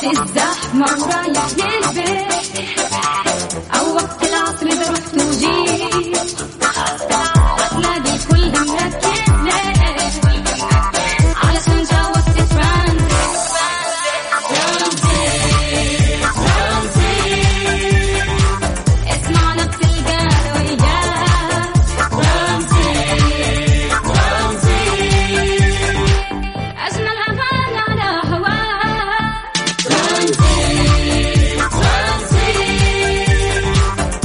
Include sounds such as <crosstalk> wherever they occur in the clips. في الزحمة ورايح للبيت أو وقت العصر إذا رحت وجيت هتلاقي الكل مركز ليه علشان جوزت ترانزيت ترانزيت ترانزيت اسمعنا بتلقانا وياك ترانزيت ترانزيت أجمل أغاني على هواك ترانزيت ترانزيت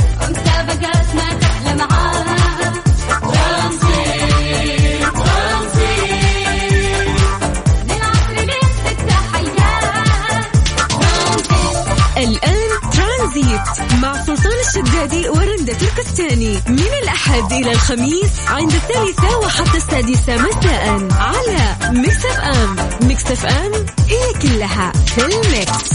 ومسابقات ما تحلم معاها ترانزيت ترانزيت للعصر بيفتح حياك ترانزيت الآن ترانزيت مع سلطان الشدادي ورندة تركستاني من الأحد إلى الخميس عند الثالثة وحتى السادسة مساء على ميكس أف أم ميكس أف أم هي كلها في الميكس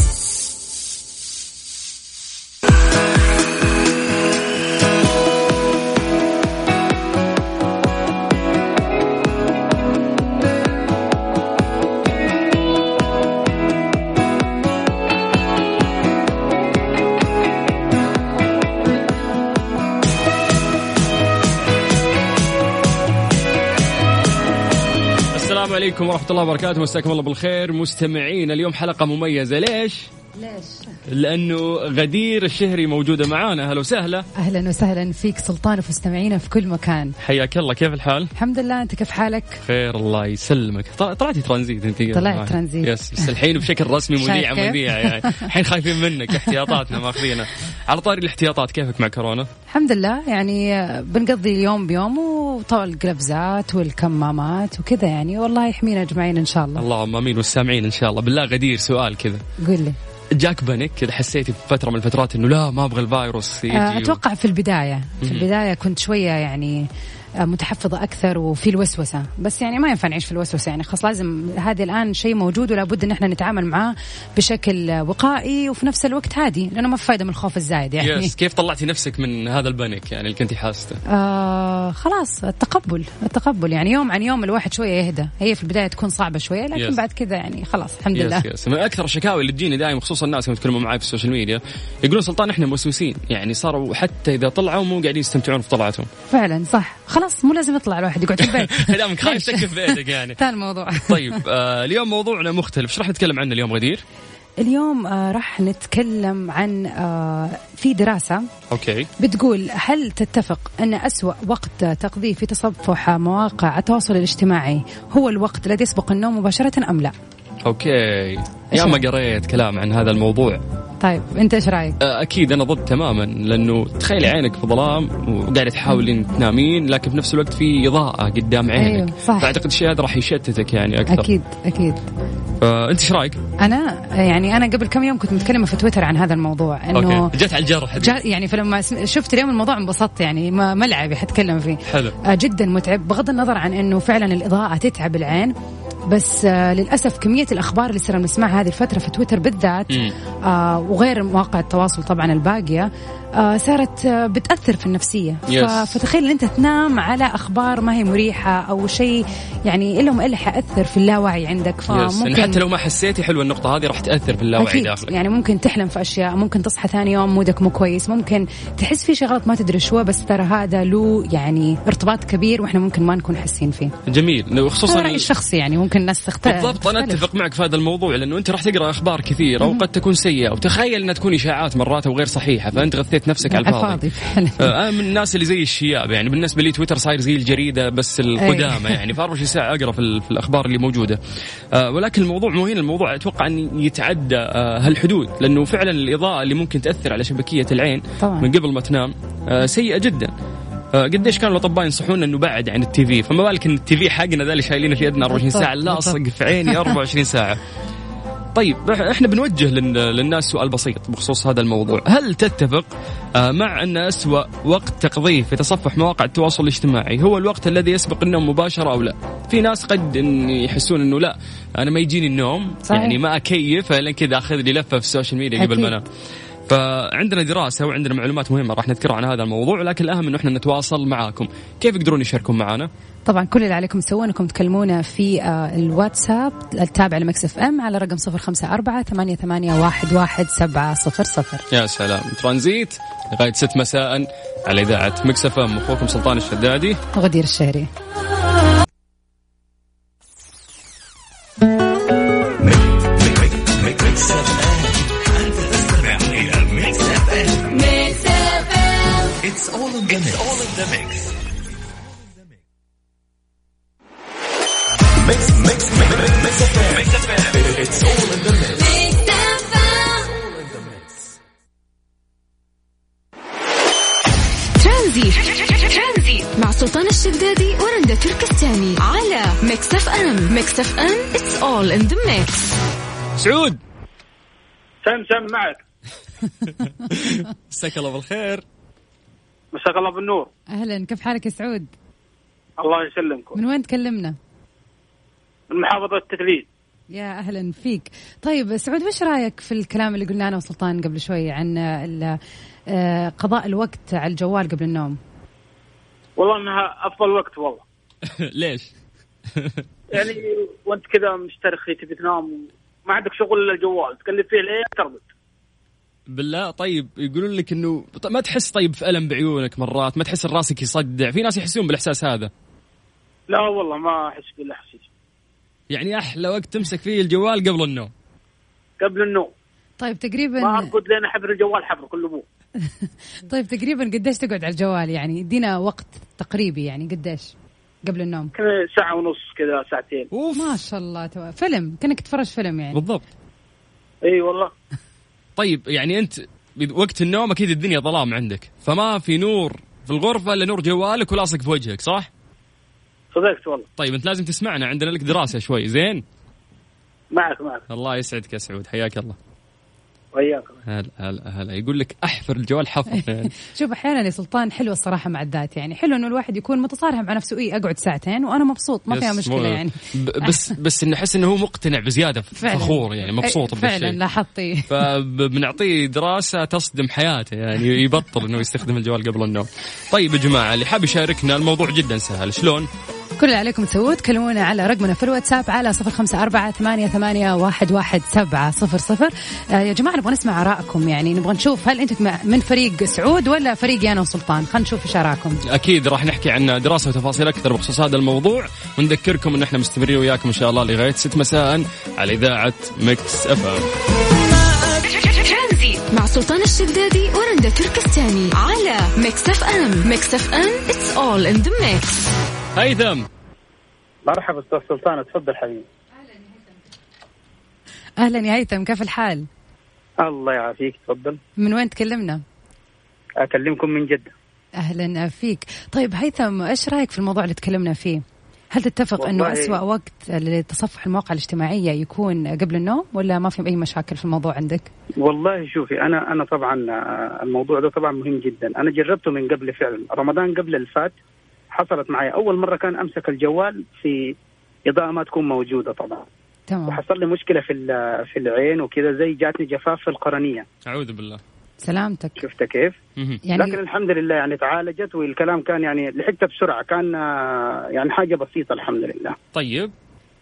السلام عليكم ورحمة الله وبركاته مساكم الله بالخير مستمعين اليوم حلقة مميزة ليش؟ ليش؟ لأنه غدير الشهري موجودة معانا أهلا وسهلا اهلا وسهلا فيك سلطان وفي مستمعينا في كل مكان حياك الله كيف الحال؟ الحمد لله انت كيف حالك؟ خير الله يسلمك ط- طلعتي ترانزيت انت طلعت ترانزيت. يس بس الحين بشكل رسمي شايف مذيع كيف؟ مذيع يعني الحين خايفين منك احتياطاتنا ماخذينها على طاري الاحتياطات كيفك مع كورونا؟ الحمد لله يعني آه، بنقضي اليوم بيوم وطول القفزات والكمامات وكذا يعني والله يحمينا اجمعين ان شاء الله اللهم امين والسامعين ان شاء الله بالله غدير سؤال كذا قول لي جاك بانيك كذا حسيتي في فترة من الفترات انه لا ما ابغى الفيروس يجي آه، اتوقع في البدايه في البدايه كنت شويه يعني آه، متحفظة أكثر وفي الوسوسة بس يعني ما ينفع نعيش في الوسوسة يعني خلاص لازم هذه الآن شيء موجود ولا بد إن احنا نتعامل معاه بشكل آه، وقائي وفي نفس الوقت هادي لأنه ما في فايدة من الخوف الزايد يعني يس كيف طلعتي نفسك من هذا البانيك يعني اللي كنتي حاسته؟ آه خلاص التقبل التقبل يعني يوم عن يوم الواحد شوية يهدى هي في البداية تكون صعبة شوية لكن Yes. بعد كذا يعني خلاص الحمد لله يس يس من اكثر الشكاوي اللي تجيني دائما خصوصا الناس اللي يتكلموا معي في السوشيال ميديا يقولون سلطان احنا موسوسين يعني صاروا حتى اذا طلعوا مو قاعدين يستمتعون في <laughs> طلعتهم فعلا صح خلاص مو لازم يطلع الواحد يقعد في البيت كلامك خايف تكف بيتك يعني ثاني موضوع طيب آه اليوم موضوعنا مختلف ايش راح نتكلم عنه اليوم غدير اليوم آه راح نتكلم عن آه في دراسة اوكي بتقول هل تتفق أن أسوأ وقت تقضيه في تصفح مواقع التواصل الاجتماعي هو الوقت الذي يسبق النوم مباشرة أم لا اوكي يا ما قريت كلام عن هذا الموضوع طيب أنت إيش رأيك آه، اكيد انا ضد تماما لانه تخيلي عينك في ظلام وقاعده تحاولين تنامين لكن في نفس الوقت في اضاءه قدام عينك أيوه، صح. فاعتقد الشيء هذا راح يشتتك يعني آه، اكثر أكيد أكيد فانت ايش رايك؟ انا يعني انا قبل كم يوم كنت متكلمه في تويتر عن هذا الموضوع انه اوكي جت على الجرح جا يعني فلما سم- شفت اليوم الموضوع انبسطت يعني ما- ملعبي حتكلم فيه حلو. آه، جدا متعب بغض النظر عن انه فعلا الاضاءه تتعب العين بس آه، للاسف كميه الاخبار اللي صرنا نسمعها هذه الفتره في تويتر بالذات مم. آه، وغير مواقع التواصل طبعا الباقيه آه، صارت آه، بتاثر في النفسيه يس. ف- فتخيل ان انت تنام على اخبار ما هي مريحه او شيء يعني الا وما الا حاثر في اللاوعي عندك يس فممكن إن يعني حتى لو ما حسيتي حلوه النقطه هذه راح تاثر في اللاوعي أكيد. داخلك يعني ممكن تحلم في اشياء ممكن تصحى ثاني يوم مودك مو كويس ممكن تحس في شيء غلط ما تدري شو بس ترى هذا له يعني ارتباط كبير واحنا ممكن ما نكون حاسين فيه جميل هذا وخصوصا رايي الشخصي يعني ممكن الناس تختلف بالضبط انا تختلف. اتفق معك في هذا الموضوع لانه انت راح تقرا اخبار كثيره وقد تكون سيئه وتخيل انها تكون اشاعات مرات وغير صحيحه فانت غثيت نفسك على الفاضي فعلا آه، انا من الناس اللي زي الشياب يعني بالنسبه لي تويتر صاير زي الجريده بس إيه. القدامى أي. يعني في 24 ساعه اقرا في, ال- في الاخبار اللي موجوده آه، ولكن الموضوع مو هنا الموضوع اتوقع ان يتعدى آه، هالحدود لانه فعلا الاضاءه اللي ممكن تاثر على شبكيه العين طبعاً. من قبل ما تنام آه، سيئه جدا آه، قديش كانوا الاطباء ينصحونا انه بعد عن التي في فما بالك ان التي في حقنا ذا اللي شايلينه في يدنا 24 ساعه بالضبط، لاصق بالضبط. في عيني 24 <laughs> ساعه طيب إح- احنا بنوجه لل- للناس سؤال بسيط بخصوص هذا الموضوع هل تتفق آه، مع ان اسوا وقت تقضيه في تصفح مواقع التواصل الاجتماعي هو الوقت الذي يسبق النوم مباشره او لا في ناس قد إن يحسون انه لا انا ما يجيني النوم صحيح. يعني ما اكيف لان كذا اخذ لي لفه في السوشيال ميديا قبل أكيد. ما انام فعندنا دراسه وعندنا معلومات مهمه راح نذكرها عن هذا الموضوع لكن الاهم انه احنا نتواصل معاكم كيف يقدرون يشاركون معنا طبعا كل اللي عليكم تسوونه انكم تكلمونا في آه، الواتساب التابع لمكس اف ام على رقم 054 88 11700 يا سلام ترانزيت لغايه 6 مساء على اذاعه مكسفه اخوكم سلطان الشدادي غدير الشهري ميكس اف ام It's all in the mix. It's all in the mix. Mix, mix, mix, mix, mix FM. Mix FM. It's all in the mix. ميكس اف ام ترانزيت ترانزيت مع سلطان الشدادي ورندا تركستاني على ميكس اف ام ميكس اف ام اتس اول ان ذا ميكس سعود سم سم معك مساك الله بالخير مساك الله بالنور اهلا كيف حالك يا سعود؟ الله يسلمكم من وين تكلمنا؟ من محافظة تثليج يا اهلا فيك. طيب سعود وش رايك في الكلام اللي قلناه انا وسلطان قبل شوي عن آه، ال- آه، قضاء الوقت على الجوال قبل النوم؟ والله انها افضل وقت والله <laughs> ليش يعني وانت كذا مسترخي تبي تنام ما عندك شغل الا الجوال تقلب فيه لين تربط بالله طيب يقولون لك انه ط- ما تحس طيب في الم بعيونك مرات ما تحس إن راسك يصدع في ناس يحسون بالاحساس هذا لا والله ما احس بالاحساس يعني احلى وقت تمسك فيه الجوال قبل النوم قبل النوم طيب ما تقريبا ارقد لين احبر الجوال حبر كل ابوه طيب تقريبا قديش تقعد على الجوال يعني؟ ادينا وقت تقريبي يعني قديش؟ قبل النوم. كذا ساعة ونص كذا ساعتين اوف ما شاء الله تو... فيلم كانك تتفرج فيلم يعني بالضبط اي والله طيب يعني انت بد- وقت النوم اكيد الدنيا ظلام عندك فما في نور في الغرفه الا نور جوالك ولاصق في وجهك صح صدقت والله طيب انت لازم تسمعنا عندنا لك دراسه شوي زين معك معك الله يسعدك يا سعود حياك الله وياك هلا هلا هلا يقول لك احفر الجوال حفر يعني. شوف احيانا يا سلطان حلوه الصراحه مع الذات يعني حلو انه الواحد يكون متصارح مع نفسه اي اقعد ساعتين وانا مبسوط <laughs> ما فيها يس، مو- مشكله يعني <laughs> ب- بس بس انه احس انه هو مقتنع بزياده فعلا فخور يعني إيه، مبسوط أي- فعلا بالشيء لاحظت إيه. فبنعطيه دراسة تصدم حياته يعني يبطل انه يستخدم الجوال قبل النوم. طيب يا جماعة اللي حاب يشاركنا الموضوع جدا سهل، شلون؟ كل اللي عليكم تسووه تكلمونا على رقمنا في الواتساب على صفر خمسة أربعة ثمانية, ثمانية واحد, واحد سبعة صفر صفر آه يا جماعة نبغى نسمع آرائكم يعني نبغى نشوف هل أنتم من فريق سعود ولا فريقي أنا وسلطان خلينا نشوف إيش آراءكم اكيد راح نحكي عن دراسه وتفاصيل اكثر بخصوص هذا الموضوع ونذكركم ان احنا مستمرين وياكم ان شاء الله لغايه 6 مساء على اذاعه مكس اف ام ترانزيت مع سلطان الشدادي ورندا تركستاني على ميكس اف ام ميكس اف ام اتس اول ان ذا ميكس هيثم مرحبا استاذ سلطان تفضل حبيبي أهلا يا هيثم كيف الحال الله يعافيك تفضل من وين تكلمنا اكلمكم من جدة أهلا فيك طيب هيثم إيش رأيك في الموضوع اللي تكلمنا فيه هل تتفق أنه والله- أسوأ وقت لتصفح المواقع الاجتماعية يكون قبل النوم ولا ما في أي مشاكل في الموضوع عندك والله شوفي انا انا طبعا آه، الموضوع ده طبعا مهم جدا انا جربته من قبل فعلا رمضان قبل الفات حصلت معي اول مره كان امسك الجوال في اضاءه ما تكون موجوده طبعا تمام وحصل لي مشكله في ال- في العين وكذا زي جاتني جفاف في القرنيه اعوذ بالله سلامتك شفت كيف مهم. يعني لكن الحمد لله يعني تعالجت والكلام كان يعني لحقتها بسرعه كان آه، يعني حاجه بسيطه الحمد لله طيب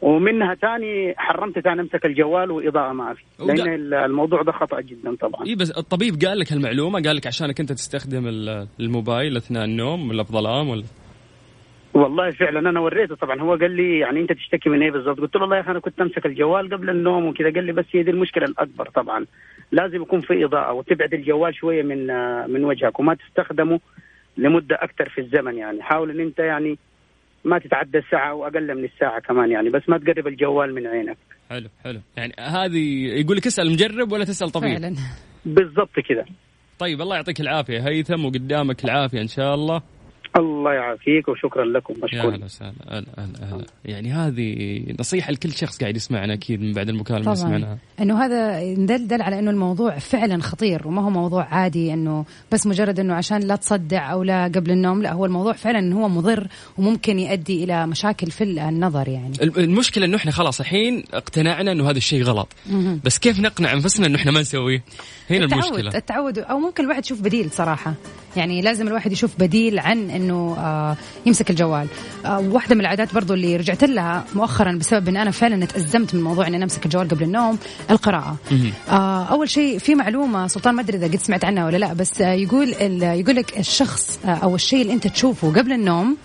ومنها تاني حرمت تاني امسك الجوال واضاءه ما في وده- لان ال- الموضوع ده خطا جدا طبعا اي إيه، بس الطبيب قال لك هالمعلومه قال لك عشانك انت تستخدم ال- الموبايل اثناء النوم ولا في ظلام ولا والله فعلا انا وريته طبعا هو قال لي يعني انت تشتكي من ايه بالضبط؟ قلت له والله يا اخي انا كنت امسك الجوال قبل النوم وكذا قال لي بس هي دي المشكله الاكبر طبعا لازم يكون في اضاءه وتبعد الجوال شويه من آه، من وجهك وما تستخدمه لمده اكثر في الزمن يعني حاول ان انت يعني ما تتعدى الساعه واقل من الساعه كمان يعني بس ما تقرب الجوال من عينك حلو حلو يعني هذه يقول لك اسال مجرب ولا تسال طبيب فعلا بالضبط كذا طيب الله يعطيك العافيه هيثم وقدامك العافيه ان شاء الله الله يعافيك وشكرا لكم يا مشكور هلا وسهلا هلا هلا هلا يعني هذه نصيحه لكل شخص قاعد يسمعنا اكيد من بعد المكالمه اللي طبعا سمعناها انه هذا دل دل على انه الموضوع فعلا خطير وما هو موضوع عادي انه بس مجرد انه عشان لا تصدع او لا قبل النوم لا هو الموضوع فعلا إنه هو مضر وممكن يؤدي الى مشاكل في النظر يعني الم- المشكله انه احنا خلاص الحين اقتنعنا انه هذا الشيء غلط بس كيف نقنع انفسنا انه احنا ما نسويه هنا المشكله التعود التعود او ممكن الواحد يشوف بديل صراحه يعني لازم الواحد يشوف بديل عن انه آه يمسك الجوال آه واحده من العادات برضو اللي رجعت لها مؤخرا بسبب ان انا فعلا اتازمت من موضوع ان انا امسك الجوال قبل النوم القراءه آه اول شيء في معلومه سلطان ما ادري اذا قد سمعت عنها ولا لا بس آه يقول ال- يقول لك الشخص آه او الشيء اللي انت تشوفه قبل النوم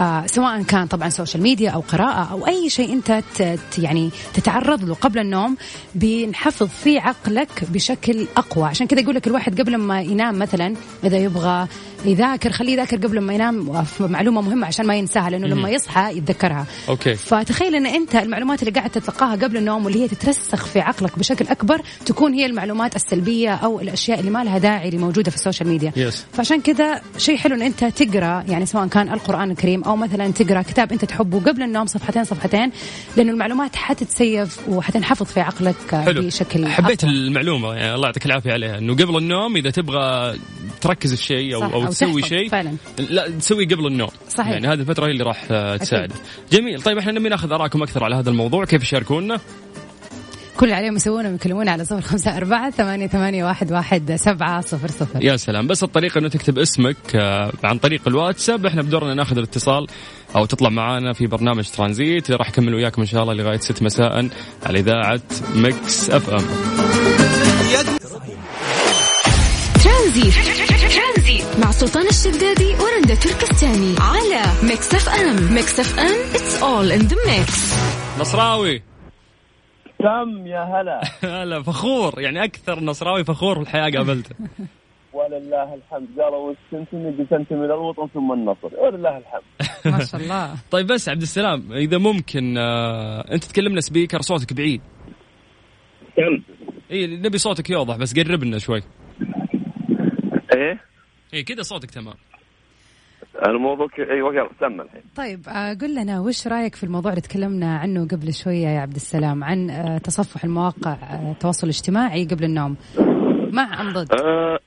آه سواء كان طبعا سوشيال ميديا او قراءه او اي شيء انت ت- ت- يعني تتعرض له قبل النوم بنحفظ فيه عقلك بشكل اقوى عشان كذا يقول لك الواحد قبل ما ينام مثلا اذا يبغى يذاكر خليه يذاكر قبل ما ينام في معلومه مهمه عشان ما ينساها لانه لما يصحى يتذكرها أوكي. فتخيل ان انت المعلومات اللي قاعد تتلقاها قبل النوم واللي هي تترسخ في عقلك بشكل اكبر تكون هي المعلومات السلبيه او الاشياء اللي ما لها داعي اللي موجوده في السوشيال ميديا Yes. فعشان كذا شيء حلو ان انت تقرا يعني سواء كان القران الكريم او مثلا تقرا كتاب انت تحبه قبل النوم صفحتين صفحتين لانه المعلومات حتتسيف وحتنحفظ في عقلك آه، حلو بشكل حبيت أفضل. المعلومه يعني الله يعطيك العافيه عليها انه قبل النوم اذا تبغى تركز في شيء او صح، او أو تسوي تحفظ شيء فعلا. لا تسوي قبل النوم صحيح. يعني هذه الفتره هي اللي راح آه، تساعد جميل طيب احنا نبي ناخذ ارائكم اكثر على هذا الموضوع كيف يشاركونا كل اللي عليهم يسوونه يكلمونا على صفر خمسة أربعة ثمانية, ثمانية واحد, واحد سبعة صفر صفر يا سلام بس الطريقه انه تكتب اسمك آه، عن طريق الواتساب احنا بدورنا ناخذ الاتصال او تطلع معانا في برنامج ترانزيت اللي راح اكمل وياكم ان شاء الله لغايه 6 مساء على اذاعه مكس اف ام ترانزيت ترانزيت مع سلطان الشدادي ورندا تركستاني على ميكس اف ام ميكس اف ام اتس اول ان ذا ميكس نصراوي كم يا هلا <laughs> هلا فخور يعني اكثر نصراوي فخور في الحياه قابلته ولله الحمد قالوا واستنتمي بتنتمي للوطن ثم النصر ولله الحمد <laughs> ما شاء الله <laughs> طيب بس عبد السلام اذا ممكن آه، انت تكلمنا سبيكر صوتك بعيد كم اي نبي صوتك يوضح بس قربنا شوي ايه اي كذا صوتك تمام الموضوع ك- ايوه يلا سمى الحين طيب آه، قل لنا وش رايك في الموضوع اللي تكلمنا عنه قبل شويه يا عبد السلام عن آه، تصفح المواقع آه، التواصل الاجتماعي قبل النوم مع ام ضد آه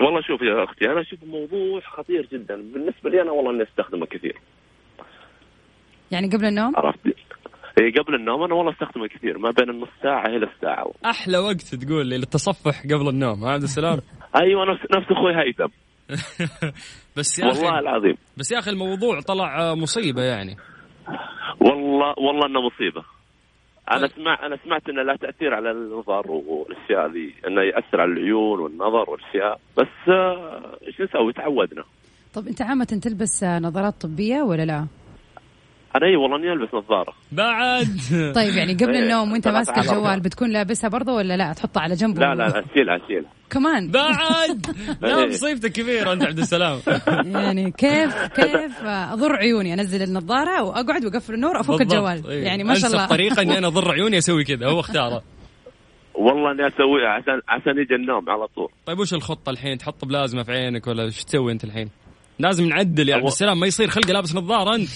والله شوف يا اختي انا اشوف الموضوع خطير جدا بالنسبه لي انا والله اني استخدمه كثير يعني قبل النوم عرفت إيه قبل النوم انا والله استخدمه كثير ما بين النص ساعه الى الساعه احلى وقت تقول لي للتصفح قبل النوم ها عبد <laughs> السلام ايوه نفس نفس اخوي هيثم بس يا والله اخي العظيم بس يا اخي الموضوع طلع آه، مصيبه يعني والله والله انه مصيبه انا طيب. اسمع انا سمعت انه لا تاثير على النظر والاشياء ذي انه ياثر على العيون والنظر والاشياء بس آه، ايش نسوي تعودنا طب انت عامه طيب، تلبس آه، نظارات طبيه ولا <laughs> لا انا اي والله اني البس نظاره بعد <laughs> طيب يعني قبل إيه، النوم وانت ثلاث ماسك على الجوال أربعة. بتكون لابسها برضه ولا لا تحطها على جنب لا و- لا إيه. لا اشيلها اشيلها كمان بعد لا مصيبتك كبيره انت عبد السلام <laughs> يعني كيف كيف آه، اضر عيوني انزل النظاره واقعد واقفل النور افك بالضبط. الجوال إيه. يعني ما شاء أنسب الله طريقه اني انا اضر عيوني اسوي كذا هو اختاره <laughs> والله اني اسويها عشان عشان يجي النوم على طول طيب وش الخطه الحين تحط بلازمه في عينك ولا ايش تسوي انت الحين لازم نعدل يا عبد هو- السلام ما يصير خلقه لابس نظاره انت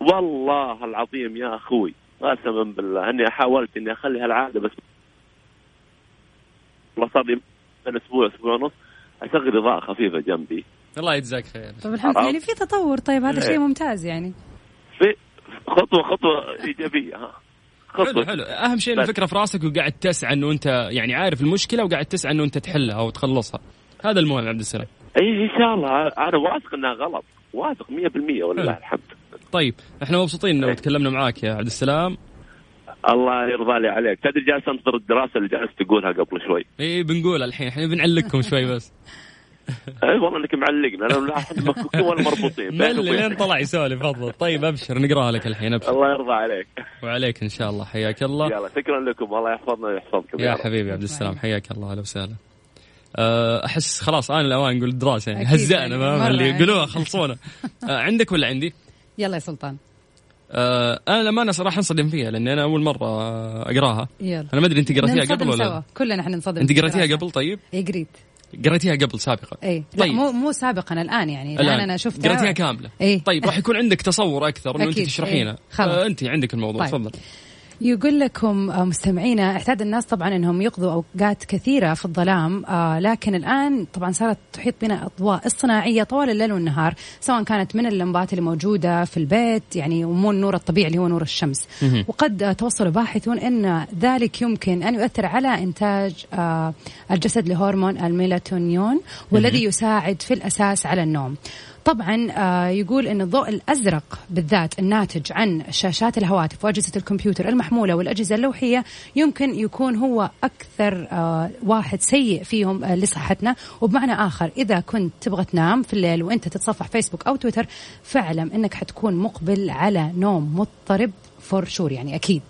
والله العظيم يا اخوي قسما بالله اني حاولت اني اخلي هالعاده بس والله صار لي من اسبوع اسبوع ونص اشغل اضاءه خفيفه جنبي الله يجزاك خير طب الحمد لله يعني في تطور طيب إيه. هذا شيء ممتاز يعني في خطوه خطوه ايجابيه ها حلو خطوه حلو اهم شيء إن بس. الفكره في راسك وقاعد تسعى انه انت يعني عارف المشكله وقاعد تسعى انه انت تحلها او تخلصها هذا المهم عبد السلام اي ان شاء الله انا واثق انها غلط واثق 100% حلو. والله الحمد طيب احنا مبسوطين انه تكلمنا معاك يا عبد السلام الله يرضى لي عليك تدري جالس انتظر الدراسه اللي جالس تقولها قبل <laughs> شوي اي إيه، بنقول الحين احنا بنعلقكم شوي بس اي إيه والله انك معلقنا لو لا احنا مفكوكين ولا <laughs> مربوطين بيني ملي لين وبينك. طلع يسولف تفضل طيب ابشر نقراها لك الحين ابشر الله يرضى عليك وعليك ان شاء الله حياك الله يلا شكرا لكم الله يحفظنا ويحفظكم يا رب. حبيبي عبد السلام حياك الله اهلا وسهلا أه، احس خلاص انا الاوان نقول الدراسه يعني أكيد هزأنا يعني، فاهم مرة اللي يعني. يقولوها خلصونا أه، عندك ولا عندي؟ يلا يا سلطان أه، انا للامانه صراحه انصدم فيها لاني انا اول مره اقراها يلا انا ما ادري انت قريتيها ننصدم قبل ولا سوا. لا؟ كلنا حننصدم انت في قريتيها الدراسة. قبل طيب؟ اي قريت قريتيها قبل سابقا اي لا طيب مو مو سابقا الان يعني الان, انا شفتها إيه. قريتيها كامله اي طيب راح يكون عندك تصور اكثر انه انت أكيد. تشرحينه إيه. خلاص. آه، انت عندك الموضوع طيب. تفضل يقول لكم آه، مستمعينا اعتاد الناس طبعا انهم يقضوا اوقات كثيره في الظلام آه، لكن الان طبعا صارت تحيط بنا اضواء اصطناعيه طوال الليل والنهار سواء كانت من اللمبات اللي موجوده في البيت يعني ومو النور الطبيعي اللي هو نور الشمس مهم. وقد آه، توصل باحثون ان ذلك يمكن ان يؤثر على انتاج آه، الجسد لهرمون الميلاتونين والذي يساعد في الاساس على النوم طبعا آه، يقول ان الضوء الازرق بالذات الناتج عن شاشات الهواتف واجهزه الكمبيوتر المحموله والاجهزه اللوحيه يمكن يكون هو اكثر آه، واحد سيء فيهم آه، لصحتنا وبمعنى اخر اذا كنت تبغى تنام في الليل وانت تتصفح فيسبوك او تويتر فاعلم انك حتكون مقبل على نوم مضطرب فور شور يعني اكيد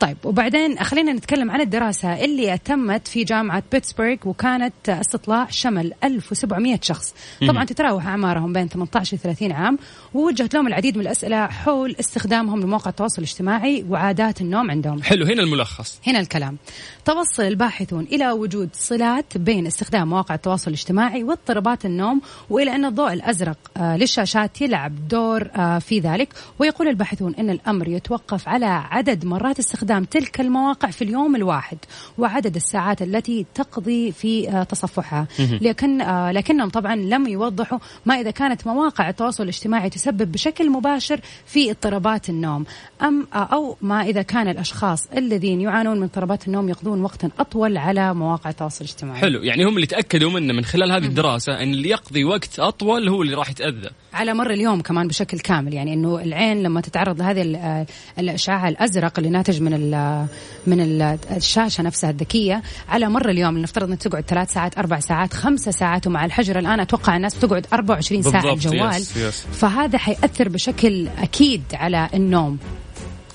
طيب وبعدين خلينا نتكلم عن الدراسة اللي تمت في جامعة بيتسبرغ وكانت استطلاع شمل 1700 شخص طبعا تتراوح أعمارهم بين 18 و 30 عام ووجهت لهم العديد من الأسئلة حول استخدامهم لمواقع التواصل الاجتماعي وعادات النوم عندهم حلو هنا الملخص هنا الكلام توصل الباحثون إلى وجود صلات بين استخدام مواقع التواصل الاجتماعي واضطرابات النوم وإلى أن الضوء الأزرق آه، للشاشات يلعب دور آه، في ذلك ويقول الباحثون أن الأمر يتوقف على عدد مرات استخدام تلك المواقع في اليوم الواحد وعدد الساعات التي تقضي في آه، تصفحها لكن آه، لكنهم طبعا لم يوضحوا ما إذا كانت مواقع التواصل الاجتماعي تسبب بشكل مباشر في اضطرابات النوم أم آه، أو ما إذا كان الأشخاص الذين يعانون من اضطرابات النوم يقضون وقتا أطول على مواقع التواصل الاجتماعي حلو يعني هم اللي تاكدوا منه من خلال هذه الدراسه ان اللي يقضي وقت اطول هو اللي راح يتاذى على مر اليوم كمان بشكل كامل يعني انه العين لما تتعرض لهذه ال- آه، الاشعاع الازرق اللي ناتج من ال من ال الشاشه نفسها الذكيه على مر اليوم نفترض انك تقعد ثلاث ساعات اربع ساعات خمسة ساعات ومع الحجر الان اتوقع الناس بتقعد 24 ساعه على بالضبط، الجوال يس- يس. فهذا حيأثر بشكل اكيد على النوم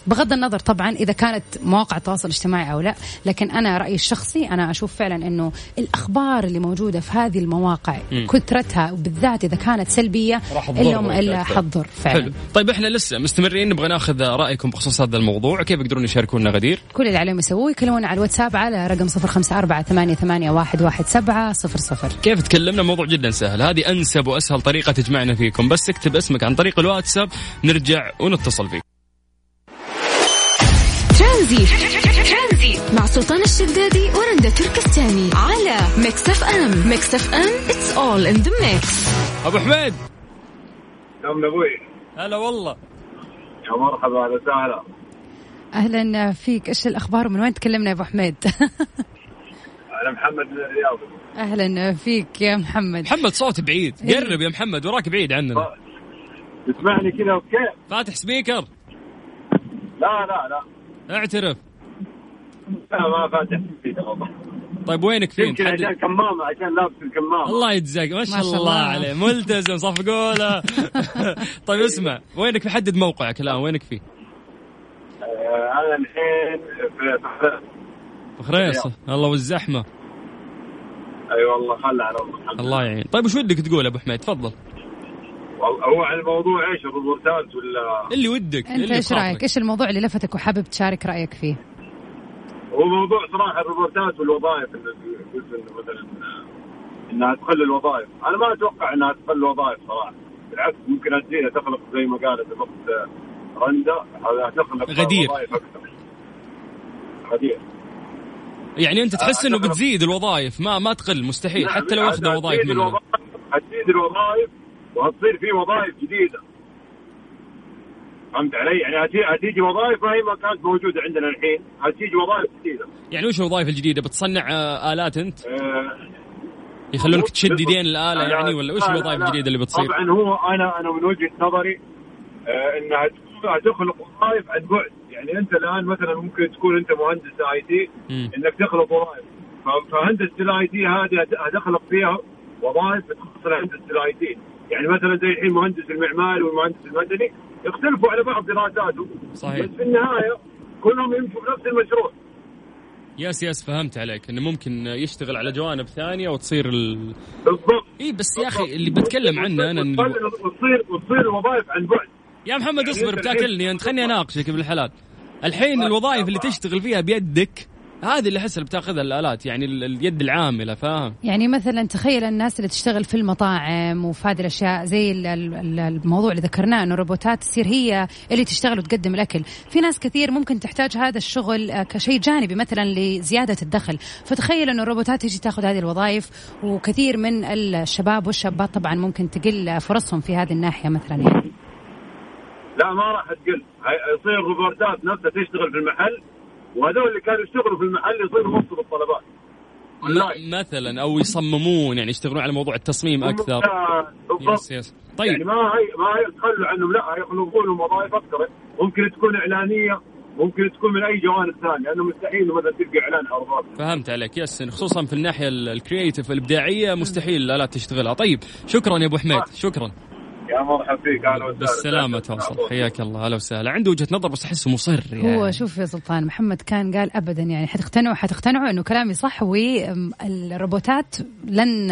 بغض النظر طبعا اذا كانت مواقع التواصل الاجتماعي او لا لكن انا رايي الشخصي انا اشوف فعلا انه الاخبار اللي موجوده في هذه المواقع مم. كثرتها وبالذات اذا كانت سلبيه راح تضر اليوم وقت الا أكثر. حتضر حلو فعلا طيب احنا لسه مستمرين نبغى ناخذ رايكم بخصوص هذا الموضوع كيف يقدرون يشاركونا غدير كل اللي عليهم يسووه يكلمونا على الواتساب على رقم صفر خمسة أربعة ثمانية, ثمانية واحد, واحد سبعة صفر صفر كيف تكلمنا موضوع جدا سهل هذه انسب واسهل طريقه تجمعنا فيكم بس اكتب اسمك عن طريق الواتساب نرجع ونتصل فيك ترانزي مع سلطان الشدادي ورندا تركستاني على ميكس اف ام ميكس اف ام اتس اول ان ذا ميكس ابو حميد يوم ابوي هلا والله يا مرحبا اهلا وسهلا أهلا فيك إيش الأخبار ومن وين تكلمنا يا أبو حميد <laughs> انا محمد من الرياض أهلا فيك يا محمد محمد صوت بعيد قرب يا محمد وراك بعيد عننا تسمعني كذا اوكي فاتح سبيكر لا لا لا اعترف انا ما فاتح فيه والله طيب وينك فين يمكن تحدد عشان كمامه عشان لابس الكمامه الله يجزاك ما شاء الله, الله عليه ملتزم صفقوا <laughs> له طيب اسمع وينك محدد موقعك الان وينك فيه آه، انا الحين في صحراء. بخريص الله والزحمه اي والله خلى على الله الحمد الله يعين طيب وش ودك تقول ابو حميد تفضل لله. والله هو عن الموضوع ايش ابو مرتاز ولا اللي ودك أنت اللي إيش بخاطرك. رأيك إيش الموضوع اللي لفتك وحابب تشارك رأيك فيه هو موضوع صراحه الروبورتات والوظائف اللي قلت انه مثلا آه، انها تقل الوظائف انا ما اتوقع انها تقل الوظائف صراحه بالعكس ممكن تزيدها تخلق زي ما قالت الاخت آه، رندا آه، تخلق غدير. وظائف اكثر غدير يعني انت تحس انه أعتقد- بتزيد الوظائف ما ما تقل مستحيل حتى لو اخذوا وظائف هتزيد منهم نعم، الوظائف- هتزيد الوظائف وهتصير في وظائف جديده فهمت علي؟ يعني هتي- هتيجي وظائف ما هي ما كانت موجوده عندنا الحين، هتيجي وظائف جديده. يعني وش الوظائف الجديده بتصنع آه، الات انت آه، يخلونك تشد يدين الاله أنا- يعني ولا وش لا، لا، الوظائف لا. الجديده اللي بتصير طبعا هو انا انا من وجهه نظري آه، انها تكون- تخلق وظائف عن بعد، يعني انت الان مثلا ممكن تكون انت مهندس اي تي مم. انك تخلق وظائف. ف- فهندسه الاي تي هذه هت- هتخلق فيها وظائف بتخص هندسه الاي تي، يعني مثلا زي الحين مهندس المعماري والمهندس المدني يختلفوا على بعض دراساتهم صحيح. بس في النهايه كلهم يمشوا في نفس المشروع. يس يس فهمت عليك انه ممكن يشتغل على جوانب ثانيه وتصير ال... بالضبط. اي بس يا اخي اللي بتكلم عنه انا إنه- وتصير وتصير- وتصير الوظائف عن بعد. يا محمد يعني اصبر بتاكلني انت خليني اناقشك بالحلال الحين الوظائف اللي تشتغل فيها بيدك هذه اللي احس اللي بتاخذها الالات يعني ال- اليد العامله فاهم يعني مثلا تخيل الناس اللي تشتغل في المطاعم وفي هذه الاشياء زي ال- ال- ال- الموضوع اللي ذكرناه انه الروبوتات تصير هي اللي تشتغل وتقدم الاكل، في ناس كثير ممكن تحتاج هذا الشغل آه، كشيء جانبي مثلا لزياده الدخل، فتخيل انه الروبوتات تجي تاخذ هذه الوظائف وكثير من الشباب والشابات طبعا ممكن تقل فرصهم في هذه الناحيه مثلا يعني. لا ما راح تقل هي- يصير روبوتات نفسها تشتغل في المحل وهذول اللي كانوا يشتغلوا في المحل يصيروا يوصلوا الطلبات م- مثلا او يصممون يعني يشتغلون على موضوع التصميم اكثر آه، بالضبط يس يس يعني طيب ما هي ما هي تخلوا عنهم لا يخلقون لهم وظائف اكثر ممكن تكون اعلانيه ممكن تكون من اي جوانب ثانيه لانه مستحيل مثلا تلقى اعلان على الروبوت فهمت عليك يس خصوصا في الناحيه ال- الكرييتيف الابداعيه مستحيل الالات تشتغلها طيب شكرا يا ابو حميد شكرا يا مرحبا فيك اهلا وسهلا بالسلامه تواصل حياك الله هلا وسهلا عنده وجهه نظر بس احسه مصر يعني هو شوف يا سلطان محمد كان قال ابدا يعني حتقتنعوا حتقتنعوا انه كلامي صح والروبوتات لن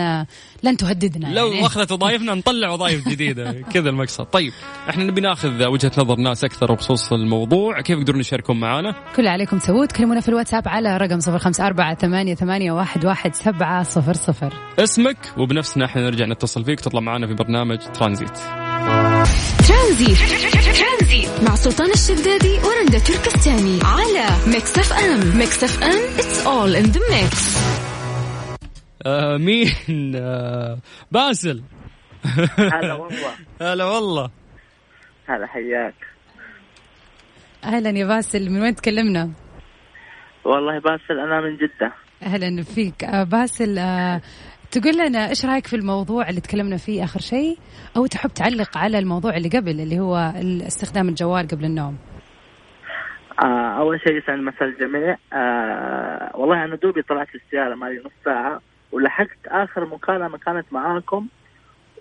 لن تهددنا يعني. لو اخذت وظائفنا نطلع وظائف جديده <laughs> كذا المقصد طيب احنا نبي ناخذ وجهه نظر ناس اكثر بخصوص الموضوع كيف يقدرون يشاركون معنا كل اللي عليكم تسووه تكلمونا في الواتساب على رقم صفر خمسة أربعة ثمانية, ثمانية واحد, واحد سبعة صفر صفر اسمك وبنفسنا احنا نرجع نتصل فيك تطلع معنا في برنامج ترانزيت ترانزي مع سلطان الشدادي ورندا تركستاني على ميكس اف ام ميكس اف ام اتس اول ان ذا ميكس آه مين آه باسل هلا <laughs> والله هلا والله هلا حياك أهلا يا باسل من وين تكلمنا والله باسل انا من جده أهلا فيك آه، باسل آه، تقول لنا إيش رأيك في الموضوع اللي تكلمنا فيه آخر شيء أو تحب تعلق على الموضوع اللي قبل اللي هو ال- استخدام الجوال قبل النوم آه اول شيء يسعد مساء الجميع آه والله انا دوبي طلعت السياره مالي نص ساعه ولحقت اخر مكالمه كانت معاكم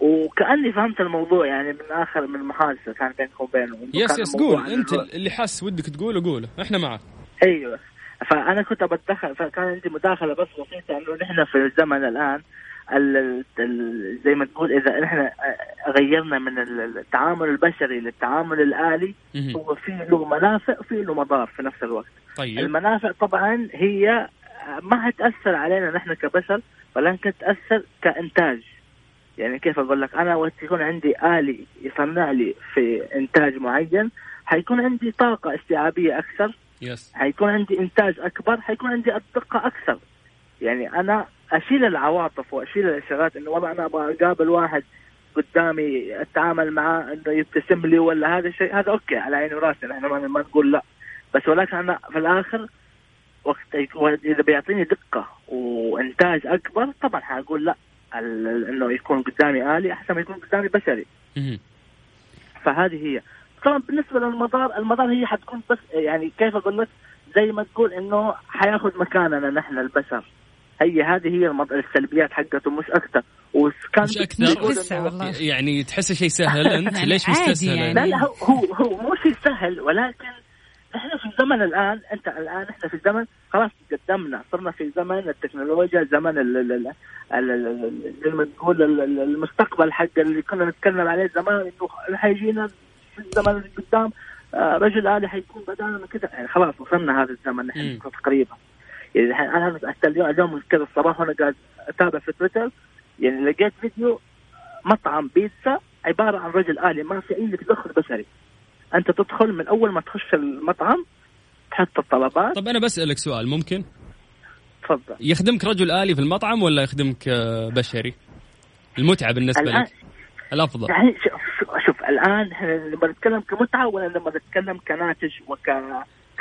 وكاني فهمت الموضوع يعني من اخر من محادثه كان بينكم وبينهم يس وكان يس الموضوع قول عن انت الرؤية. اللي حاس ودك تقوله قوله احنا معك ايوه فانا كنت بتدخل فكان عندي مداخله بس بسيطه انه نحن في الزمن الان ال- ال- ال- زي ما تقول اذا احنا غيرنا من ال- التعامل البشري للتعامل الالي مهم. هو في له منافع وفي له مضار في نفس الوقت طيب المنافع طبعا هي ما هتاثر علينا نحن كبشر ولكن تاثر كانتاج يعني كيف اقول لك انا وقت يكون عندي الي يصنع لي في انتاج معين حيكون عندي طاقه استيعابيه اكثر يس حيكون عندي انتاج اكبر حيكون عندي الدقه اكثر يعني انا اشيل العواطف واشيل الاشارات انه والله انا ابغى اقابل واحد قدامي اتعامل معاه انه يبتسم لي ولا هذا الشيء هذا اوكي على عيني وراسي نحن ما, ما نقول لا بس ولكن انا في الاخر وقت يكون- اذا بيعطيني دقه وانتاج اكبر طبعا حقول لا ال- ال- انه يكون قدامي الي احسن ما يكون قدامي بشري مهم. فهذه هي طبعا بالنسبه للمطار المطار هي حتكون بس يعني كيف اقول لك زي ما تقول انه حياخذ مكاننا نحن البشر هي هذه هي المط... السلبيات حقته مش اكثر وكان مش أكثر؟ بيقول لسه إنه- والله. يعني تحس شيء سهل <laughs> <laughs> انت يعني ليش عادي مستسهل يعني. يعني. لا لا هو هو, هو مو شيء سهل ولكن احنا في الزمن الان انت الان احنا في الزمن خلاص تقدمنا صرنا في زمن التكنولوجيا زمن ال- ال- ال- ال- ال- ال- زي ما تقول ال- ال- المستقبل حق اللي كنا نتكلم عليه زمان انه حيجينا في الزمن اللي قدام آه، رجل آلي حيكون بدالنا كذا يعني خلاص وصلنا هذا الزمن مم. نحن تقريبا يعني الحين انا حتى اليوم اليوم كذا الصباح وانا قاعد اتابع في تويتر يعني لقيت فيديو مطعم بيتزا عباره عن رجل الي ما في اي تدخل بشري انت تدخل من اول ما تخش المطعم تحط الطلبات طب انا بسالك سؤال ممكن تفضل يخدمك رجل الي في المطعم ولا يخدمك آه، بشري؟ المتعه بالنسبه الآن- لك الافضل يعني شوف شوف, شوف الان احنا لما نتكلم كمتعه ولا لما نتكلم كناتج وك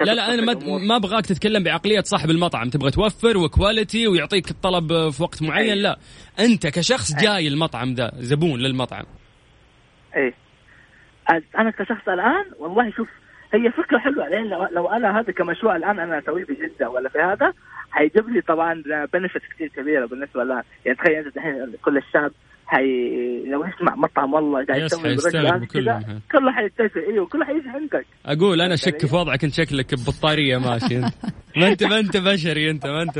لا لا انا ما ما ابغاك تتكلم بعقليه صاحب المطعم تبغى توفر وكواليتي ويعطيك الطلب آه، في وقت معين لا انت كشخص جاي المطعم ذا زبون للمطعم ايه انا كشخص الان والله شوف هي فكره حلوه لان لو, لو انا هذا كمشروع الان انا اسويه في جده ولا في هذا حيجيب لي طبعا بنفيت كثير كبيره بالنسبه لها يعني تخيل انت الحين كل الشعب حي لو يسمع مطعم والله قاعد يس، يسوي برجل حيستغربوا هذا كذا، كلهم. كله حيتفق ايوه كله حيجي عندك اقول انا شك في وضعك انت شكلك ببطاريه ماشي <laughs> انت ما انت ما انت بشري انت ما انت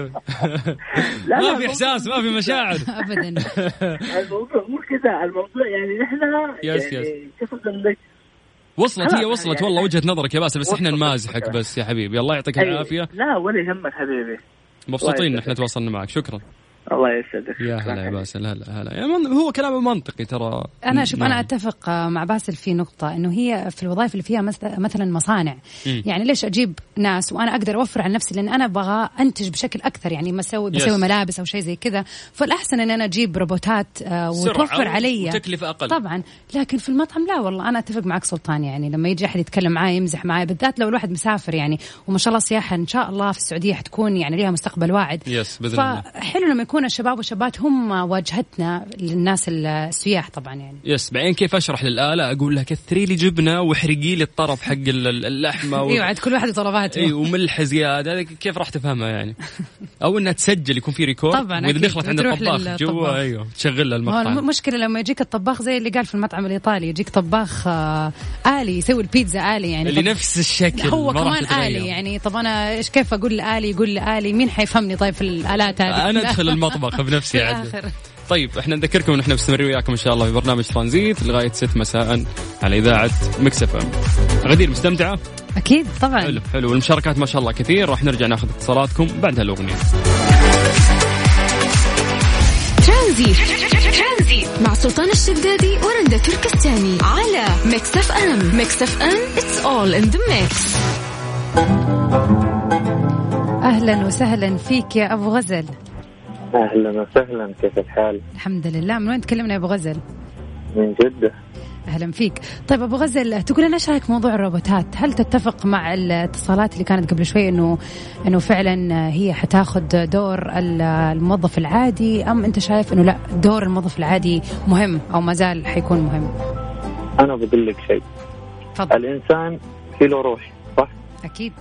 لا، ما في مو- احساس ما في مشاعر ابدا الموضوع مو كذا الموضوع يعني نحن يس، يعني يس. كيف اقول لك وصلت هي خلاص، وصلت يعني- والله وجهه نظرك يا باسل بس احنا وصلت نمازحك وجهة. بس يا حبيبي الله يعطيك أي- العافيه إيه، لا ولا يهمك حبيبي مبسوطين الله ان احنا تواصلنا معك شكرا الله يسعدك يا شكراً هلا يا حبيبي. باسل هلا هلا يعني من- هو كلامه منطقي ترى انا شوف نعم. انا اتفق آه، مع باسل في نقطه انه هي في الوظائف اللي فيها مث- مثلا مصانع مم. يعني ليش اجيب ناس وانا اقدر اوفر على نفسي لان انا ابغى انتج بشكل اكثر يعني مسوي Yes. بسوي ملابس او شيء زي كذا فالاحسن ان انا اجيب روبوتات آه، سرعة وتوفر و- علي وتكلفة أقل. طبعا لكن في المطعم لا والله انا اتفق معك سلطان يعني لما يجي احد يتكلم معي يمزح معي بالذات لو الواحد مسافر يعني وما شاء الله سياحه ان شاء الله في السعوديه حتكون يعني ليها مستقبل واعد Yes، بإذن الله. حلو لما يكون الشباب والشابات هم واجهتنا للناس السياح طبعا يعني يس بعدين كيف اشرح للاله اقول لها كثري لي جبنه واحرقي لي الطرف حق ال- ال- <laughs> اللحمه و... إيه، ايوه عاد كل واحد وطلباته اي وملح زياده هذه كيف راح تفهمها يعني او انها تسجل يكون في ريكورد طبعاً، واذا أكيد. دخلت عند بتروح الطباخ للطباخ. جوا ايوه تشغل لها ما هو المقطع المشكلة لما يجيك الطباخ زي اللي قال في المطعم الإيطالي يجيك طباخ آه، آلي يسوي البيتزا آلي يعني اللي طب- نفس الشكل هو ما راح كمان تتغير. آلي يعني طب أنا إيش كيف أقول لآلي يقول لآلي مين حيفهمني طيب في الآلات هذه انا ادخل المطبخ <laughs> بنفسي في عاد الآخر. طيب احنا نذكركم ان احنا مستمرين وياكم ان شاء الله في برنامج ترانزيت لغايه 6 مساء على اذاعه مكسف ام غدير مستمتعه أكيد حلو طبعا حلو والمشاركات ما شاء الله كثير راح نرجع ناخذ اتصالاتكم بعد هالاغنيه ترانزي مع سلطان الشدادي ورندا تركستاني على ميكس اف ام ميكس اف ام اتس اول ان ذا ميكس أهلا وسهلا فيك يا أبو غزل اهلا وسهلا كيف الحال؟ الحمد لله من وين تكلمنا يا أبو غزل من جدة أهلا فيك طيب أبو غزل تقول أنا إيش رأيك موضوع الروبوتات هل تتفق مع الاتصالات اللي كانت قبل شوي أنه أنه فعلا هي حتاخذ دور ال- الموظف العادي أم أنت شايف أنه لا دور الموظف العادي مهم أو ما زال حيكون مهم انا بقول لك شيء تفضل الانسان في له روح صح؟ أكيد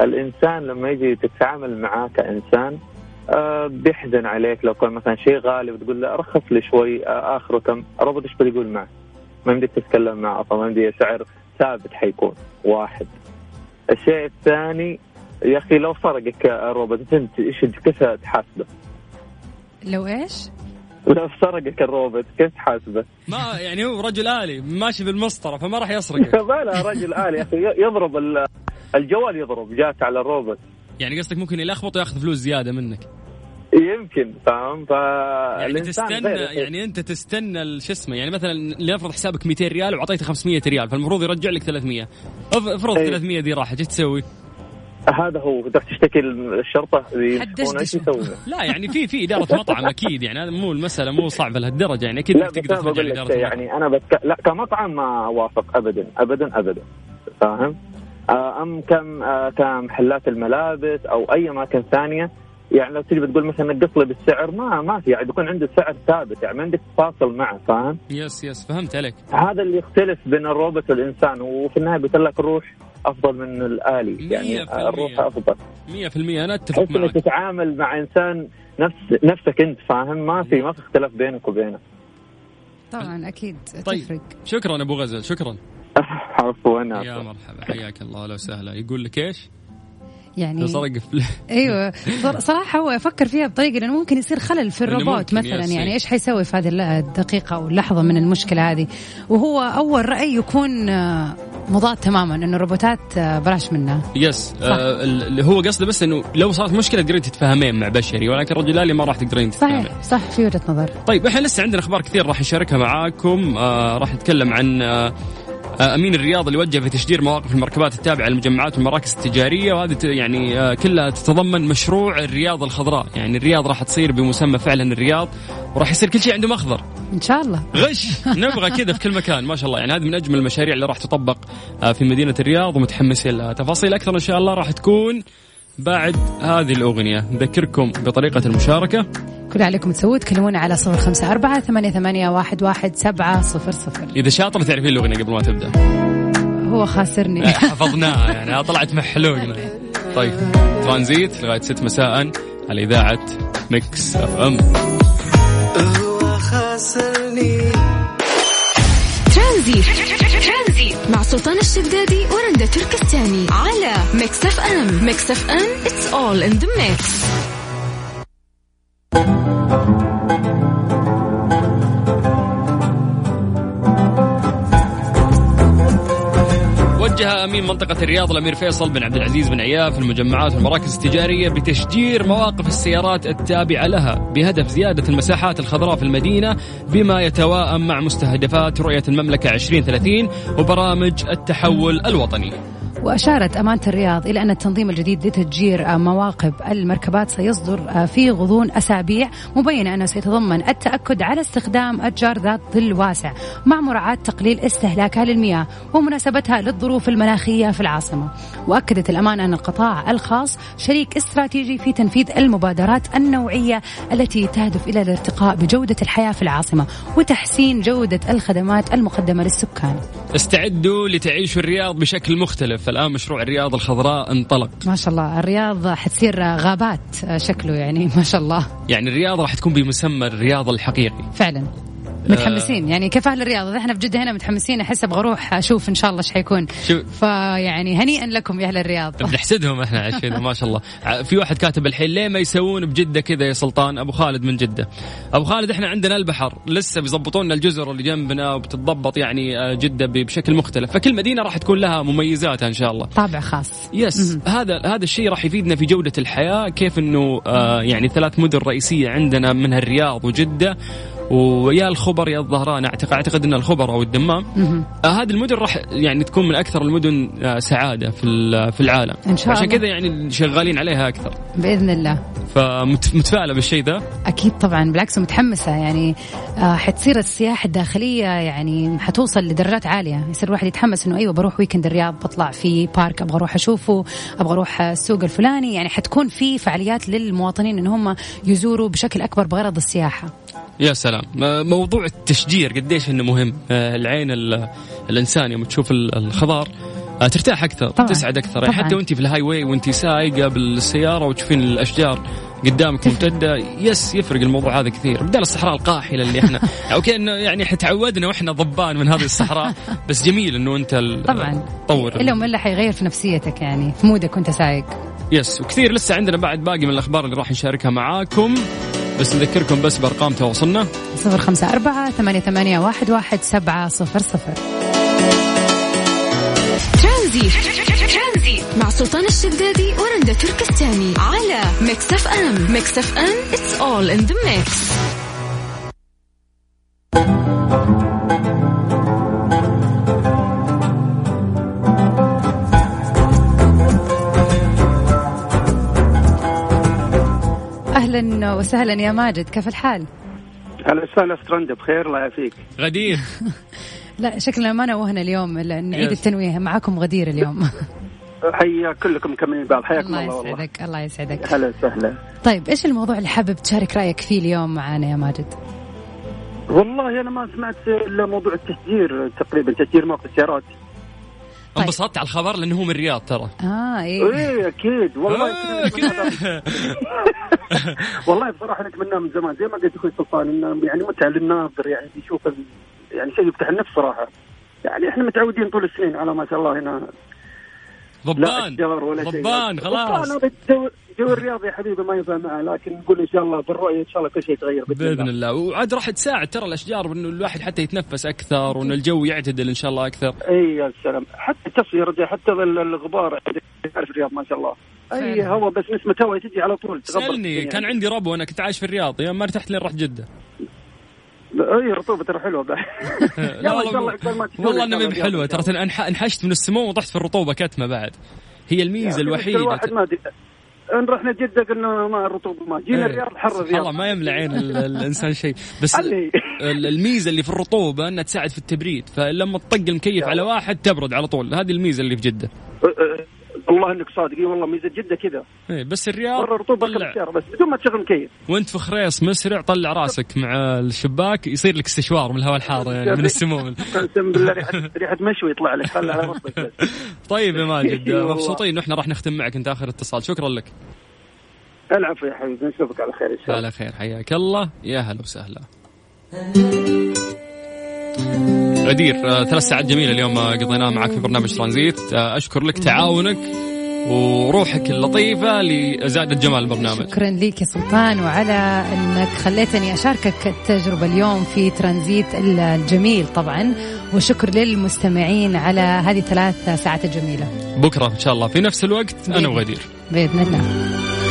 الانسان لما يجي تتعامل معاه كانسان آه بيحزن عليك لو كان مثلا شيء غالي بتقول له رخص لي شوي آه اخره كم الروبوت ايش بيقول معك؟ ما يمديك تتكلم معه اصلا ما يمديك سعر ثابت حيكون واحد الشيء الثاني يا اخي لو سرقك الروبوت انت ايش كيف تحاسبه؟ لو إيش لو سرقك الروبوت كيف تحاسبه؟ ما يعني هو رجل الي ماشي بالمسطره فما راح يسرقك <laughs> لا رجل آلي يا أخي يضرب ال- الجوال يضرب جات على الروبوت <laughs> يعني قصدك ممكن يلخبط وياخذ فلوس زياده منك يمكن فاهم يعني فالإنسان تستنى غير. يعني انت تستنى ال- شو اسمه يعني مثلا لنفرض حسابك 200 ريال وعطيته 500 ريال فالمفروض يرجع لك 300 أف- افرض أي. 300 دي راحت ايش تسوي؟ هذا هو تروح تشتكي الشرطة يشوفون ايش حدشدشوا. يسوون لا يعني في في اداره مطعم اكيد يعني هذا مو المساله مو صعبه لهالدرجه يعني اكيد لا انك بس انا تقدر ترجع بقول لك لاداره شيء، المطعم يعني انا بتك... لا كمطعم ما اوافق ابدا ابدا ابدا فاهم؟ آه، ام كم آه، كمحلات الملابس او اي اماكن ثانيه يعني لو تجي بتقول مثلا نقص لي بالسعر ما ما في يعني بيكون عنده سعر ثابت يعني ما عندك تفاصل معه فاهم؟ يس يس فهمت عليك هذا اللي يختلف بين الروبوت والانسان وفي النهايه بيقول لك الروح افضل من الالي مية يعني في المية. الروح افضل 100% انا اتفق تحس انك معك تتعامل مع انسان نفس نفسك انت فاهم ما في ما في اختلاف بينك وبينه طبعا أكيد طيب. تفرق شكرا ابو غزل شكرا عفوا يا مرحبا حياك الله اهلا وسهلا يقول لك ايش؟ يعني لو سرق فل- ايوه صر- صراحه هو يفكر فيها بطريقه لانه ممكن يصير خلل في لأنه الروبوت ممكن مثلا يصير. يعني ايش حيسوي في هذه الل- الدقيقه او اللحظه من المشكله هذه وهو اول راي يكون آه، مضاد تماما انه الروبوتات آه، بلاش منها يس آه ال- اللي هو قصده بس انه لو صارت مشكله تقدرين تتفاهمين مع بشري ولكن رجل الي ما راح تقدرين تتفاهمين صحيح صح في وجهه نظر طيب احنا لسه عندنا اخبار كثير راح نشاركها معاكم آه راح نتكلم عن آه آه، امين الرياض اللي وجه في تشجير مواقف المركبات التابعه للمجمعات والمراكز التجاريه وهذه ت- يعني آه، كلها تتضمن مشروع الرياض الخضراء، يعني الرياض راح تصير بمسمى فعلا الرياض وراح يصير كل شيء عنده مخضر. ان شاء الله غش <laughs> نبغى كذا في كل مكان ما شاء الله يعني هذه من اجمل المشاريع اللي راح تطبق آه، في مدينه الرياض ومتحمسين لها تفاصيل اكثر ان شاء الله راح تكون بعد هذه الاغنيه نذكركم بطريقه المشاركه كل عليكم تسووا تكلمونا على صفر خمسة أربعة ثمانية, ثمانية واحد, واحد سبعة صفر صفر اذا شاطر تعرفين الاغنيه قبل ما تبدا هو <laughs> خاسرني حفظناها يعني طلعت محلوقنا طيب ترانزيت لغايه 6 مساء على اذاعه ميكس اف ام ترانزي مع سلطان الشدادي ورندا تركستاني على ميكس اف ام ميكس اف ام اتس اول ان ذا ميكس وجه امين منطقه الرياض الامير فيصل بن عبد العزيز بن عياف المجمعات والمراكز التجاريه بتشجير مواقف السيارات التابعه لها بهدف زياده المساحات الخضراء في المدينه بما يتواءم مع مستهدفات رؤيه المملكه 2030 وبرامج التحول الوطني. وأشارت أمانة الرياض إلى أن التنظيم الجديد لتتجير آه، مواقب المركبات سيصدر آه، في غضون أسابيع مبينة أنه سيتضمن التأكد على استخدام أشجار ذات ظل واسع مع مراعاة تقليل استهلاكها للمياه ومناسبتها للظروف المناخية في العاصمة وأكدت الأمانة أن القطاع الخاص شريك استراتيجي في تنفيذ المبادرات النوعية التي تهدف إلى الارتقاء بجودة الحياة في العاصمة وتحسين جودة الخدمات المقدمة للسكان استعدوا لتعيشوا الرياض بشكل مختلف، الان مشروع الرياض الخضراء انطلق، ما شاء الله الرياض حتصير غابات شكله يعني ما شاء الله يعني الرياض راح تكون بمسمى الرياض الحقيقي. فعلا متحمسين يعني كيف اهل الرياض احنا في جده هنا متحمسين احس ابغى اروح اشوف ان شاء الله ايش حيكون آه، شو- فيعني هنيئا لكم يا اهل الرياض بنحسدهم احنا عشان ما شاء الله ع- في واحد كاتب الحين ليه ما يسوون بجده كذا يا سلطان ابو خالد من جده ابو خالد احنا عندنا البحر لسه بيظبطون لنا الجزر اللي جنبنا وبتتضبط يعني آه، جده ب- بشكل مختلف فكل مدينه راح تكون لها مميزاتها ان شاء الله طابع خاص يس هذا هذا الشيء راح يفيدنا في جوده الحياه كيف انه آه يعني ثلاث مدن رئيسيه عندنا منها الرياض وجده ويا الخبر يا الظهران اعتقد اعتقد ان الخبر او الدمام مهم. آه، هذه المدن راح يعني تكون من اكثر المدن آه، سعاده في ال- في العالم إن شاء عشان الله. كذا يعني شغالين عليها اكثر باذن الله فمتفائله بالشيء ذا اكيد طبعا بالعكس متحمسه يعني آه، حتصير السياحه الداخليه يعني حتوصل لدرجات عاليه يصير الواحد يتحمس انه ايوه بروح ويكند الرياض بطلع في بارك ابغى اروح اشوفه ابغى اروح السوق الفلاني يعني حتكون في فعاليات للمواطنين ان هم يزوروا بشكل اكبر بغرض السياحه يا سلام آه، موضوع التشجير قديش انه مهم آه، العين ال- الانسان يوم تشوف ال- الخضار آه، ترتاح اكثر طبعاً. تسعد اكثر يعني طبعاً. حتى وانت في الهاي واي وانت سايقه بالسياره وتشوفين الاشجار قدامك ممتده يس يفرق الموضوع هذا كثير بدل الصحراء القاحله اللي <laughs> احنا اوكي انه يعني إحنا تعودنا واحنا ضبان من هذه الصحراء بس جميل انه انت ال- طبعاً. تطور الا وما الا حيغير في نفسيتك يعني في مودك وانت سايق يس وكثير لسه عندنا بعد باقي من الاخبار اللي راح نشاركها معاكم بس نذكركم بس بارقام تواصلنا صفر خمسة أربعة ثمانية, ثمانية واحد, واحد سبعة صفر صفر ترانزي مع سلطان الشدادي ورندا تركستاني على ميكس اف ام ميكس اف ام اتس اول ان ذا ميكس أهلا وسهلا يا ماجد كيف الحال؟ هلا وسهلا في ترند بخير الله يعافيك غدير لا شكلنا ما نوهنا اليوم إلا نعيد Yes. التنويه معاكم غدير اليوم حيا كلكم مكملين بعض حياكم الله الله والله يسعدك الله يسعدك هلا وسهلا طيب ايش الموضوع اللي حابب تشارك رايك فيه اليوم معانا يا ماجد؟ والله انا ما سمعت الا موضوع التشجير تقريبا تشجير موقف السيارات انبسطت على الخبر لانه هو من الرياض ترى اه ايه اكيد والله آه. يمكن- <laughs> والله بصراحه نتمناه من زمان زي ما قلت اخوي سلطان انه يعني متعه للناظر يعني يشوف ال- يعني شيء يفتح النفس صراحه يعني احنا متعودين طول السنين على ما شاء الله هنا ضبان أشجار ولا شيء. ضبان خلاص ضبان هذا الجو- جو الرياض يا حبيبي ما ينفع معه لكن نقول ان شاء الله بالرؤيه ان شاء الله كل شيء يتغير باذن الله وعاد راح تساعد ترى الاشجار انه الواحد حتى يتنفس اكثر وان الجو يعتدل ان شاء الله اكثر اي يا سلام حتى التصوير ده، حتى ال- الغبار تعرف الرياض ما شاء الله اي هواء بس نسمه هواء تجي على طول تغبر سالني الدنيا. كان عندي ربو انا كنت عايش في الرياض يوم ما ارتحت لين رحت جده اي رطوبه ترى حلوه <laughs> بعد لا يلا ان شاء الله عقبال ما تكون والله إن شاء انها ما الله هي حلوه الرياض. ترى أنح- انحشت من السمو وطحت في الرطوبه كتمه بعد هي الميزه يعني الوحيده الواحد ما ادري إن رحنا جده قلنا ما الرطوبه ما جينا الرياض حر إيه. سبحان الله الرياض ما يملى عين ال- الانسان شيء بس علي. ال- الميزه اللي في الرطوبه انها تساعد في التبريد فلما تطق المكيف على واحد تبرد على طول هذه الميزه اللي في جده أه، والله انك صادق إي والله ميزه جده كذا إيه، بس الرياض مره رطوبه طلع. كم سياره بس بدون ما تشغل مكيف وانت في خريص مسرع طلع راسك مع الشباك يصير لك استشوار من الهواء الحار يعني <laughs> من السموم اقسم بالله ريحه ريحه مشوي يطلع لك خلي على ربك بس <laughs> طيب يا ماجد والله. مبسوطين انه احنا راح نختم معك انت اخر اتصال شكرا لك العفو يا حبيبي نشوفك على خير ان شاء الله على خير حياك الله يا هلا وسهلا غدير آه، ثلاث ساعات جميله اليوم آه، قضيناها معك في برنامج ترانزيت آه، اشكر لك تعاونك وروحك اللطيفة اللي زادت جمال البرنامج شكرا لك يا سلطان وعلى انك خليتني اشاركك التجربه اليوم في ترانزيت الجميل طبعا وشكر للمستمعين على هذه ثلاث ساعات الجميله بكرة إن شاء الله في نفس الوقت أنا وغدير باذن الله